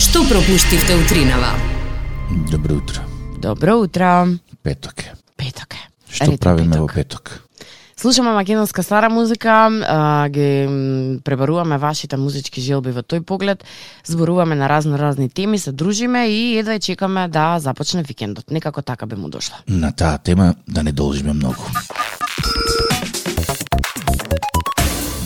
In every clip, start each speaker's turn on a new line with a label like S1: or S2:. S1: Што пропуштивте утринава?
S2: Добро утро.
S3: Добро утро.
S2: Петок е.
S3: Петок е.
S2: Што
S3: Ритм
S2: правиме
S3: петок.
S2: во петок?
S3: Слушаме македонска стара музика, а, ги м, пребаруваме вашите музички желби во тој поглед, зборуваме на разно разни теми, се дружиме и едва ја чекаме да започне викендот. Некако така би му дошло.
S2: На таа тема да не должиме многу.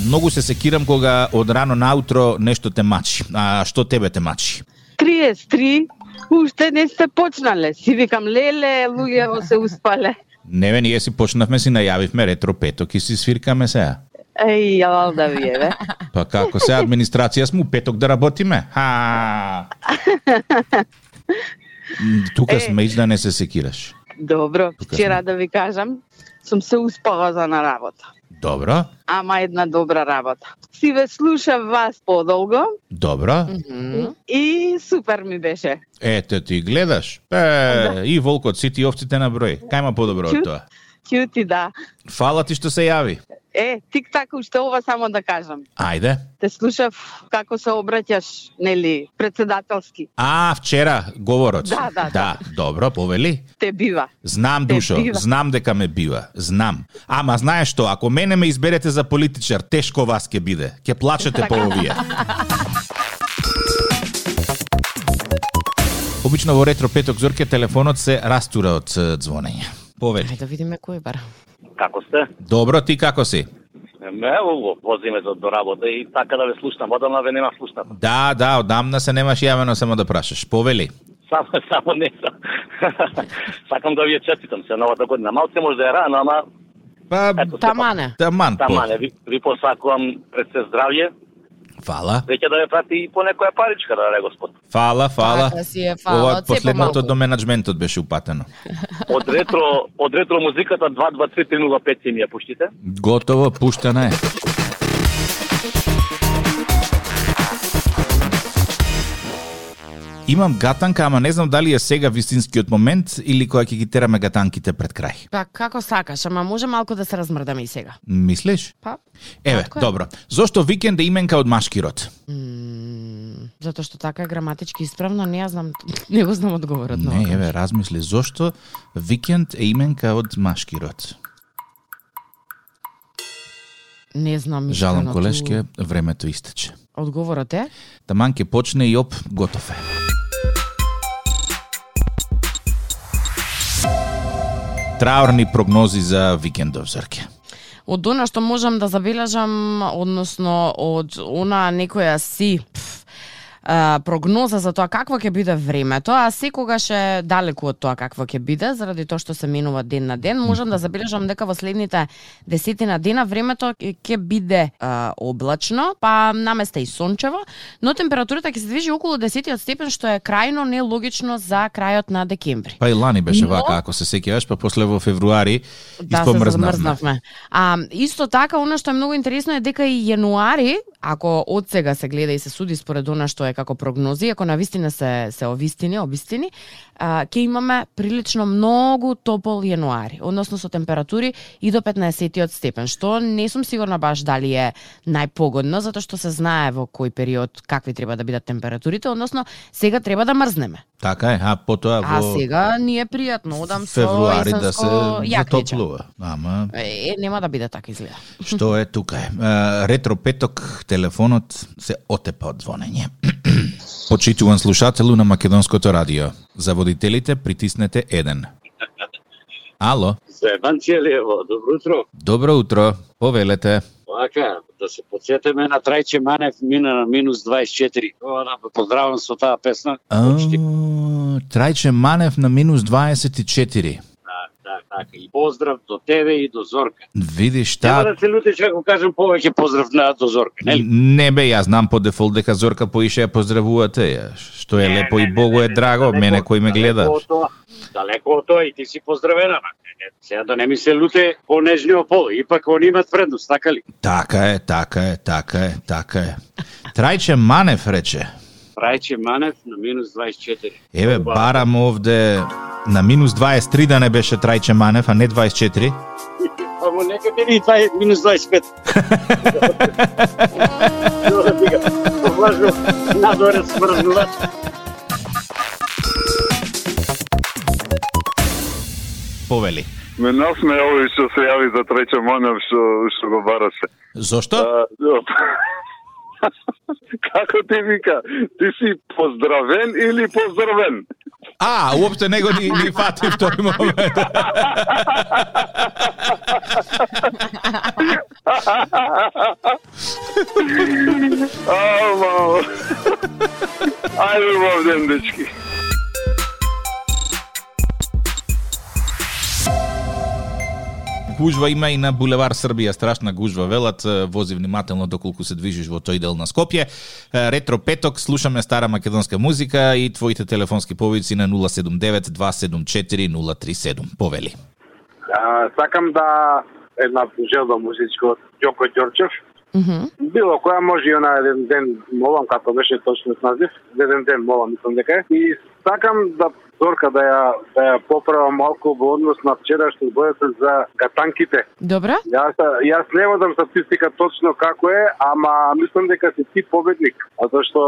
S2: Многу се секирам кога од рано наутро нешто те мачи. А што тебе те мачи?
S4: 33, уште не сте почнале. Си викам, леле, луѓе се успале.
S2: Не бе, ние си почнавме, си најавивме ретро петок и си свиркаме сега.
S4: Еј, јавал да ви еве.
S2: Па како се администрација сме у петок да работиме? Ха! М, Тука сме ич да не се секираш.
S4: Добро,
S2: Тука сме.
S4: вчера да ви кажам, сум се успала за на работа.
S2: Добро,
S4: Ама една добра работа. Си ве слушав вас подолго
S2: добро.
S4: и супер ми беше.
S2: Ете ти гледаш. Е, и волкот сите и овците на број. Кај ма подобро од
S4: да. Чу.
S2: тоа?
S4: Кјути да.
S2: Фала ти што се јави.
S4: Е, тик така уште ова само да кажам.
S2: Ајде.
S4: Те слушав како се обраќаш, нели, председателски.
S2: А, вчера говорот.
S4: Да, да, да.
S2: да. добро, повели.
S4: Те бива.
S2: Знам,
S4: Те
S2: Душо,
S4: бива.
S2: знам дека ме бива, знам. Ама знаеш што, ако мене ме изберете за политичар, тешко вас ќе биде. Ќе
S4: Така.
S2: плачете по овие. Обично во ретро петок зорке телефонот се растура од е, звонење. Повели.
S3: Ајде да видиме кој бара.
S5: Како сте?
S2: Добро, ти како си?
S5: Ме, во возиме за до работа и така да ве слушнам, одамна ве нема слушната.
S2: Да, да, одамна се немаш јавено само да прашаш. Повели.
S5: Само, само не сам. Сакам да ви ја честитам се новата година. Малце може да е рано, ама
S2: Па,
S5: ето се.
S3: Тамане.
S2: таман.
S5: Тама
S2: по-
S5: не, ви, ви посакувам пред се здравје,
S2: Фала,
S5: веќе да ве прати и по некоја паричка, да даде Господ.
S2: фала, фала.
S3: Така си е, фала,
S2: Ова
S3: од се
S2: последното
S3: помалку.
S2: до менеджментот беше упатено.
S5: Од ретро, од ретро музиката 223305 си ми ја пуштите.
S2: Готово, пуштена е. Имам гатанка, ама не знам дали е сега вистинскиот момент или кога ќе ги тераме гатанките пред крај.
S3: Па како сакаш, ама може малку да се размрдаме и сега.
S2: Мислиш?
S3: Па,
S2: Еве,
S3: Така е.
S2: добро. Зошто викенд е именка од машки род?
S3: м, затоа што така е граматички исправно, не ја знам, не го знам одговорот. на
S2: Не,
S3: ова.
S2: еве, размисли, зошто викенд е именка од машки род?
S3: не знам.
S2: Жалам
S3: искрено,
S2: колешке, времето истече.
S3: ту- Одговорот е?
S2: Таман ќе почне и оп, готов е. Траурни прогнози за викендов, Зорке.
S3: од она што можам да забележам, односно од она некоја си пф, а, прогноза за тоа какво ќе биде времето, а секогаш е далеку од тоа какво ќе биде, заради тоа што се минува ден на ден, можам да забележам дека во следните десетина дена времето ќе- ќе биде а, облачно, па наместа и сончево, но температурата ќе се движи околу 10 степен, што е крајно нелогично за крајот на декември.
S2: Па и лани беше
S3: Но-
S2: вака, ако се сеќаваш, па после во февруари
S3: Да, се
S2: испомрзнавме.
S3: замрзнавме. А, исто така, оно што е многу интересно е дека и јануари, ако од сега се гледа и се суди според она што е како прогнози, ако навистина се, се овистини, обистини, а, ќе имаме прилично многу топол јануари, односно со температури и до 15 степен, што не сум сигурна баш дали е најпогодно, затоа што се знае во кој период какви треба да бидат температурите, односно сега треба да мрзнеме.
S2: така е, а потоа
S3: А
S2: во
S3: сега ние пријатно, одам со
S2: февруари да се
S3: есенско јакниче.
S2: затоплува. Ама,
S3: Е, нема да биде така изгледа.
S2: што е тука е. А, Ретро петок, телефонот се отепа од звонење. Почитуван слушателу на Македонското радио. За водителите притиснете 1. Ало,
S6: Земан Челиево, добро утро.
S2: добро утро, повелете.
S6: Вака, да се подсетеме на Трајче Манев, мина на минус 24. Ова да ве поздравам со таа песна.
S2: А,
S6: Почти.
S2: Трајче Манев на минус 24.
S6: Да, да, така. И поздрав до тебе и до Зорка.
S2: Видиш
S6: Нема
S2: та...
S6: да се лутиш ако кажам повеќе поздрав на до Зорка, нели?
S2: Не бе, јас знам по дефолт дека Зорка поише ја поздравувате ја, што е лепо и Богу е драго, мене кој ме гледа.
S6: Далеко од тоа, далеко од тоа и ти си поздравена. ма. Е, е, Сега да не ми се луте по нежниот пол, ипак они имат предност, така ли?
S2: Така е, така е, така е, така е. Трајче Манев рече,
S6: Трајче Манев на минус 24.
S2: еве барам овде на минус 23 да не беше Трајче Манев, а не 24.
S6: Па му нека биде и 20, минус 25. Добро, дига. влажно, надоре смрзнуват.
S2: Повели.
S1: Менавме овој што се јави за треќа монав што, што го бараше.
S2: Зошто?
S1: А, да. Како ти вика? Ти си поздравен или поздравен?
S2: А, уопште него ни, ни фати в тој момент.
S1: Ама... Ајде убав ден, дечки.
S2: Гужва има и на Булевар Србија, страшна гужва велат, Е, вози внимателно доколку се движиш во тој дел на Скопје. Е, Ретро петок, слушаме стара македонска музика и твоите телефонски повици на 079-274-037. Повели.
S6: А, сакам да една желба музичка од Ѓоко Ѓорчев.
S3: Мгм.
S6: Било која може и она еден ден молам, како беше точниот назив, еден ден молам, мислам дека е. И сакам да Зорка да ја, да ја поправам малку во однос на вчера што зборите за гатанките.
S3: Добро?
S6: Јас, јас не водам статистика точно како е, ама мислам дека си ти победник, а зашто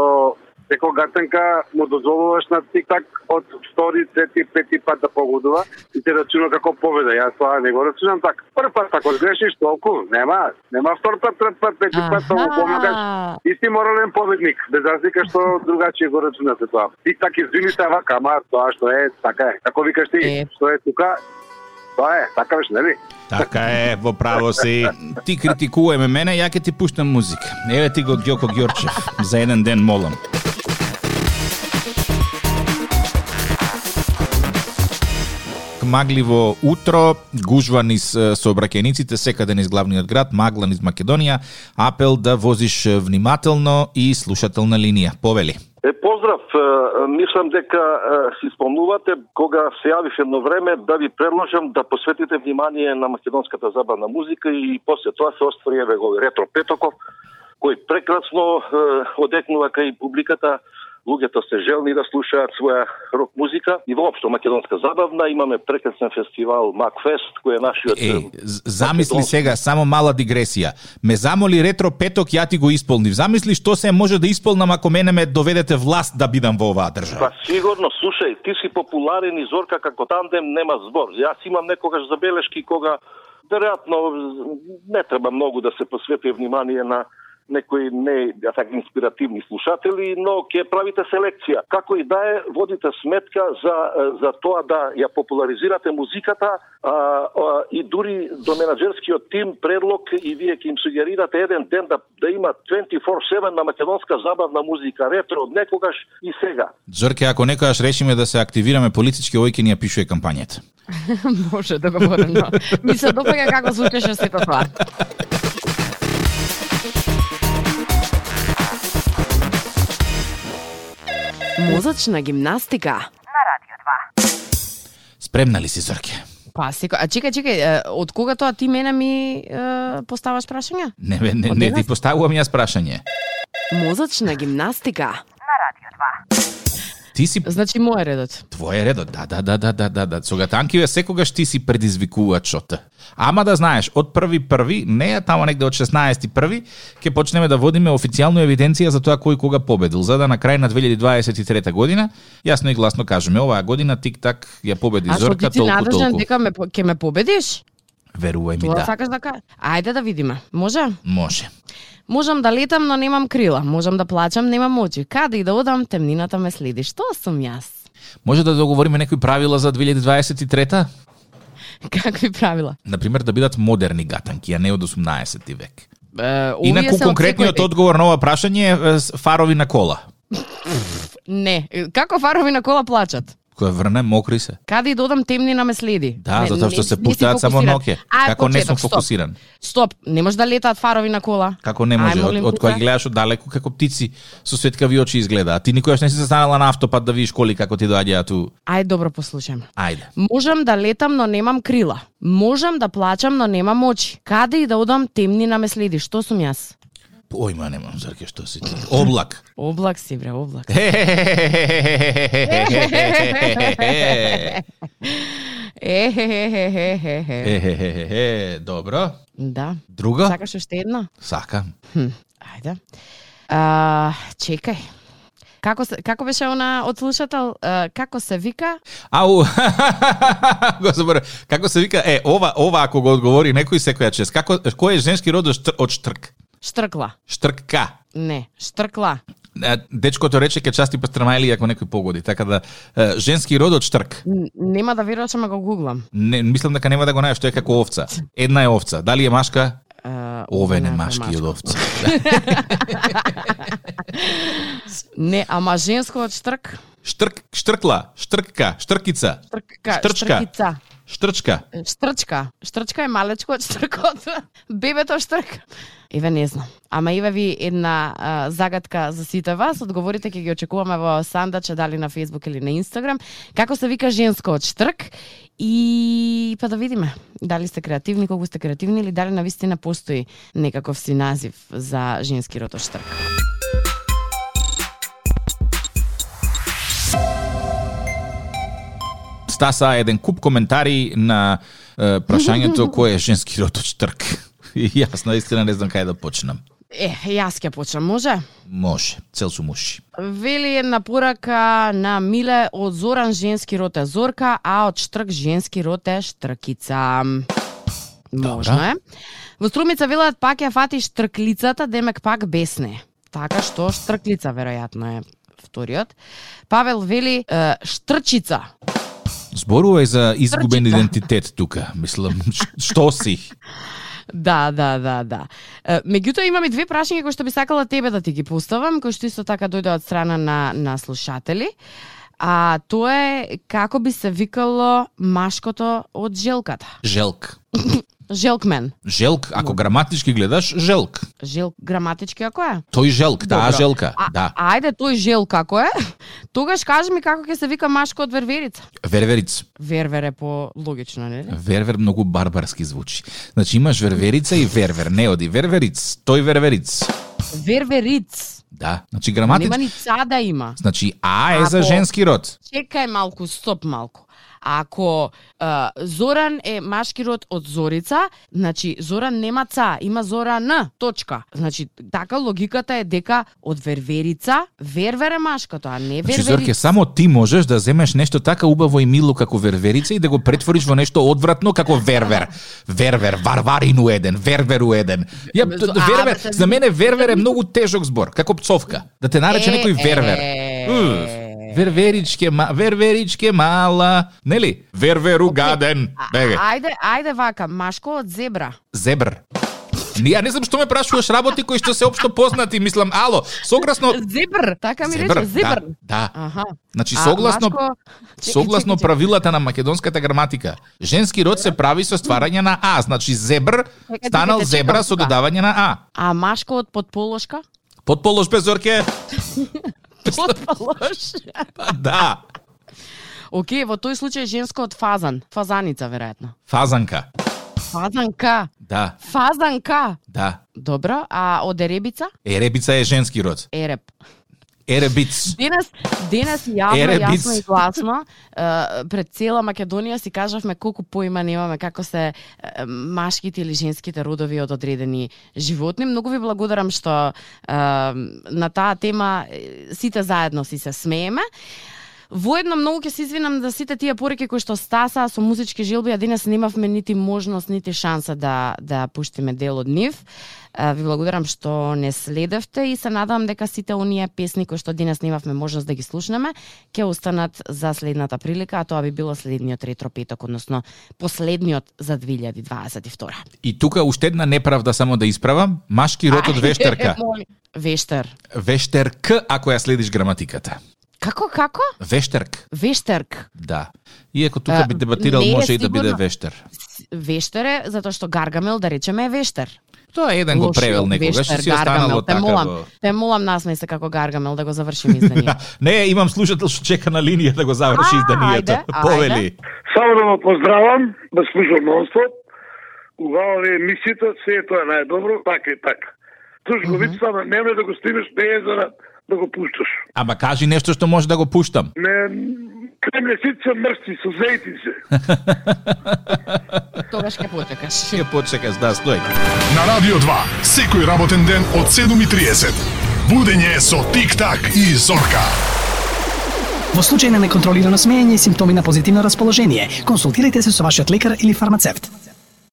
S6: секој гатенка му дозволуваш на тик-так од втори, трети, пети пат да погодува и те рачуна како победа. Јас тоа не го рачунам така. Прв пат ако грешиш толку, нема, нема втор пат, трет пат, пети пат, тоа го помагаш.
S3: Аха.
S6: И си морален победник, без разлика што другачи го рачунате тоа. Ти так извини се вака, ама тоа што е, така е. Како викаш
S3: Е.
S6: ти, што е тука, тоа е, така беше, нели?
S2: Така е, во право си. Ти критикуваме мене, ја ќе ти пуштам музика. Еве ти го Ѓоко Ѓорчев, за еден ден молам. Магливо утро, гужва низ е, сообраќајниците секаде низ главниот град, магла низ Македонија, апел да возиш е, внимателно и слушателна линија. Повели.
S7: Е, поздрав, е, е, мислам дека е, си спомнувате кога се јавив едно време да ви предложам да посветите внимание на македонската забавна музика и после тоа се оствари еве го ретро петоков кој прекрасно е, одекнува кај публиката луѓето се желни да слушаат своја рок музика и воопшто македонска забавна имаме прекрасен фестивал Макфест кој е нашиот
S2: Е,
S7: е,
S2: з- замисли сега, само мала дигресија. Ме замоли ретро петок, ја ти го исполнив. Замисли што се може да исполнам ако мене ме доведете власт да бидам во оваа
S7: Па
S2: држава.
S7: сигурно, слушај, ти си популарен и Зорка како тандем нема збор. Јас имам некогаш забелешки кога веројатно не треба многу да се посвети внимание на некои не да така инспиративни слушатели, но ќе правите селекција. Како и да е, водите сметка за е, за тоа да ја популаризирате музиката а, а, и дури до менаџерскиот тим предлог и вие ќе им сугерирате еден ден да да има 24/7 на македонска забавна музика, ретро од некогаш и сега.
S2: Зорке, ако некојаш решиме да се активираме политички, овој ќе ни ја пишуе кампањата.
S3: Може, да договорено. Ми се допаѓа како звучеше сето тоа. Мозачна гимнастика.
S2: Спремна ли си, Зорке?
S3: Па секој, а чекај, чекај, е, од кога тоа ти мене ми е, поставаш прашања?
S2: Не, бе, не,
S3: Од
S2: не
S3: денес?
S2: ти поставувам јас прашање.
S3: Мозачна гимнастика.
S2: Ти си
S3: Значи мој е редот.
S2: твое редо, да, да, да, да, да, да, да. Сога танкиве секогаш ти си предизвикувачот. Ама да знаеш, од први први, не е таму негде од 16 први, ќе почнеме да водиме официјална евиденција за тоа кој кога победил, за да на крај на 2023 година, јасно и гласно кажеме, оваа година тик-так ја победи
S3: А што ти
S2: Зорка
S3: ти
S2: толку
S3: надежден
S2: толку.
S3: дека ме по- ќе ме победиш?
S2: Верувај ми,
S3: Тоа
S2: да.
S3: сакаш да кажеш? Ајде да видиме. Може?
S2: Може.
S3: Можам да летам, но немам крила. Можам да плачам, немам очи. Каде и да одам, темнината ме следи. Што сум јас?
S2: Може да договориме некои правила за 2023
S3: Какви правила?
S2: на пример да бидат модерни гатанки, а не од 18 век.
S3: Е, овие
S2: Инаку
S3: се од
S2: конкретниот
S3: секој-
S2: одговор на ова прашање е е, с- фарови на кола.
S3: Не, е, како фарови на кола плачат?
S2: Кој врне, мокри се.
S3: Каде и да одам, темнина ме следи.
S2: Да,
S3: не,
S2: затоа
S3: не-
S2: што се
S3: не си
S2: пуштаат само
S3: фокусиран.
S2: ноќе.
S3: А,
S2: Како не сум
S3: почеток, стоп.
S2: фокусиран.
S3: Стоп, не може да летаат фарови на кола.
S2: Како не може,
S3: Ај,
S2: од,
S3: молим
S2: од
S3: те,
S2: кога
S3: да.
S2: ги гледаш оддалеку како птици со светкави очи изгледа. А ти никогаш не си се станала на автопат да видиш коли како ти доаѓаат ту.
S3: Ај, добро, послушајме.
S2: Ајде.
S3: Можам да летам, но немам крила. Можам да плачам, но немам очи. Каде и да одам, темнина ме следи. Што сум јас?
S2: Појма немам, Зорке, што си ти? Облак.
S3: Облак си, бре, облак. Е,
S2: Е, Добро.
S3: да.
S2: Друго?
S3: Сакаш уште една?
S2: Сакам.
S3: Хм, ајде. А, чекај. Како, се, како беше она од слушател? А, како се вика?
S2: Ау, го заборав. Како се вика, е, ова, ова ако го одговори некој секоја чест. Како, кој е женски род од штр- од штрк?
S3: Штркла.
S2: Штркка.
S3: Не, штркла.
S2: Е, Дечкото рече ке части пастрмајли ако некој погоди, така да е, женски род од штрк.
S3: Н- Нема да веруваш, ама го гуглам.
S2: Не, мислам дека нема да го најдеш, тоа е како овца. Една е овца, дали е машка?
S3: А,
S2: Овен е
S3: однака
S2: машки од овца.
S3: Не, ама женско од штрк.
S2: Штрк, штркла, штркка, штркица,
S3: Штркка,
S2: Штрчка.
S3: штркица.
S2: штрчка.
S3: Штрчка. Штрчка е малечко од штркот. Бебето штрк. Еве не знам. Ама еве ви една а, загадка за сите вас. Одговорите ќе ги очекуваме во сандаче дали на Facebook или на Instagram. Како се вика женско од штрк? И па да видиме дали сте креативни, колку сте креативни или дали навистина постои некаков си назив за женски род од штрк.
S2: Стаса еден куп коментари на е, прашањето кој е женски род од штрк. И јас наистина не знам кај да почнам.
S3: Е, јас ќе почнам, може?
S2: Може, цел сум уши.
S3: Вели една порака на Миле од Зоран женски род е Зорка, а од Штрк женски род е Штркица. Можно е. Во Струмица велат пак ја фати штрклицата, демек пак бесне. Така што штрклица веројатно е вториот. Павел вели е, штрчица.
S2: Зборува и за изгубен
S3: Штрчица.
S2: идентитет тука, мислам. Ш- Што си?
S3: Да, да, да, да. Е, Меѓутоа имам и две прашања кои што би сакала тебе да ти ги поставам, кои што исто така дојде од страна на на слушатели. А тоа е како би се викало машкото од желката.
S2: Желк.
S3: Желкмен.
S2: Желк, ако граматички гледаш, желк.
S3: Жел граматички како е?
S2: Тој желк, таа
S3: Добро.
S2: желка.
S3: А,
S2: Да,
S3: а- ајде тој жел како е? Тогаш кажи ми како ќе се вика машко од верверица.
S2: вервериц.
S3: Вервер е по логично, нели?
S2: Вервер многу барбарски звучи. Значи имаш верверица и вервер, не оди вервериц, тој вервериц.
S3: Вервериц.
S2: Да, значи
S3: Нема
S2: граматички.
S3: ни ца да има.
S2: Значи а е за
S3: Ако-
S2: женски род.
S3: чекај малку, стоп малку. Ако а, Зоран е машки род од Зорица, значи Зоран нема ца, има Зоран, точка. Значи, така логиката е дека од Верверица, Вервер е машкото, а не
S2: Значи, Зорке,
S3: Верверица.
S2: само ти можеш да земеш нешто така убаво и мило како верверица и да го претвориш во нешто одвратно како вервер. Вервер, варварину еден, верверу еден. Ја, т-
S3: А,
S2: вервер,
S3: абе,
S2: за мене вервер е многу тежок збор, како пцовка. Да те нарече
S3: Е,
S2: некој вервер.
S3: е.
S2: Уф. Верверичке, ма- верверичке мала, нели? Верверу гаден.
S3: А-
S2: Бегај.
S3: Ајде, ајде вака, машко од зебра.
S2: Зебр. Ни, Ја не знам што ме прашуваш работи кои што се општо познати, мислам, ало, согласно...
S3: Зебр, така ми рече,
S2: да,
S3: зебр.
S2: да.
S3: Аха.
S2: Значи,
S3: А,
S2: согласно,
S3: машко- Чекай,
S2: согласно
S3: чекай, чекай.
S2: правилата на македонската граматика, женски род се прави со стварање на а, значи зебр
S3: Чекай,
S2: станал
S3: чекай, чекам
S2: зебра со
S3: тука.
S2: додавање на а.
S3: А машко од подполошка?
S2: Подполош без орке?
S3: Подполош.
S2: Па да,
S3: Океј, во тој случај женско од фазан. Фазаница, веројатно.
S2: фазанка.
S3: Фазанка.
S2: Да,
S3: Фазанка.
S2: да.
S3: Добро, а од еребица?
S2: Еребица е женски род.
S3: Ереб.
S2: Еребиц.
S3: Денес, денес јавно,
S2: Еребиц.
S3: јасно и гласно, е, пред цела Македонија си кажавме колку поима немаме како се е, машките или женските родови од одредени животни. Многу ви благодарам што е, на таа тема е, сите заедно си се смееме. Воедно многу ќе се извинам за сите тие пораки кои што стасаа со музички желби, а денес немавме нити можност, нити шанса да да пуштиме дел од нив. А, Ви благодарам што не следевте и се надевам дека сите оние песни кои што денес немавме можност да ги слушнеме, ќе останат за следната прилика, а тоа би било следниот ретро петок, односно последниот за 2022.
S2: И да тука уште една неправда само да исправам. Машки род од вештерка.
S3: Мој Вештер.
S2: Вештерк, ако ја следиш граматиката.
S3: Како, како?
S2: Вештерк,
S3: Вештерк.
S2: да. Иако тука
S3: А,
S2: би дебатирал,
S3: не е
S2: може и да биде
S3: сигурно.
S2: вештер.
S3: С- Вештер е, затоа што Гаргамел, да речеме, е вештер.
S2: Тоа е еден го
S3: Лошиот
S2: превел некогаш и
S3: вештар
S2: си останало
S3: Гаргамел. Те
S2: така.
S3: молам,
S2: во-
S3: те молам насмеј се како Гаргамел да го завршим изданието.
S2: Не, имам слушател што чека на линија да го заврши
S3: А,
S2: изданието.
S3: ајде, ајде.
S2: Повели.
S6: Само да ве поздравам, да слушам нонстоп. Убава ви е емисијата, се е тоа најдобро, така и така. Тушковицата mm -hmm. не ме да го стигнеш, не е за да, да го пушташ.
S2: Ама кажи нешто што може да го пуштам.
S6: Не, кремлесица мрсти, сузејти се.
S3: Тогаш ќе почекаш.
S2: Ќе почекаш, да, стој.
S8: На Радио 2, секој работен ден од 7.30. Будење со Тик-так и Зорка.
S1: Во случај на неконтролирано смеење и симптоми на позитивно расположение, консултирайте се со вашиот лекар или фармацевт.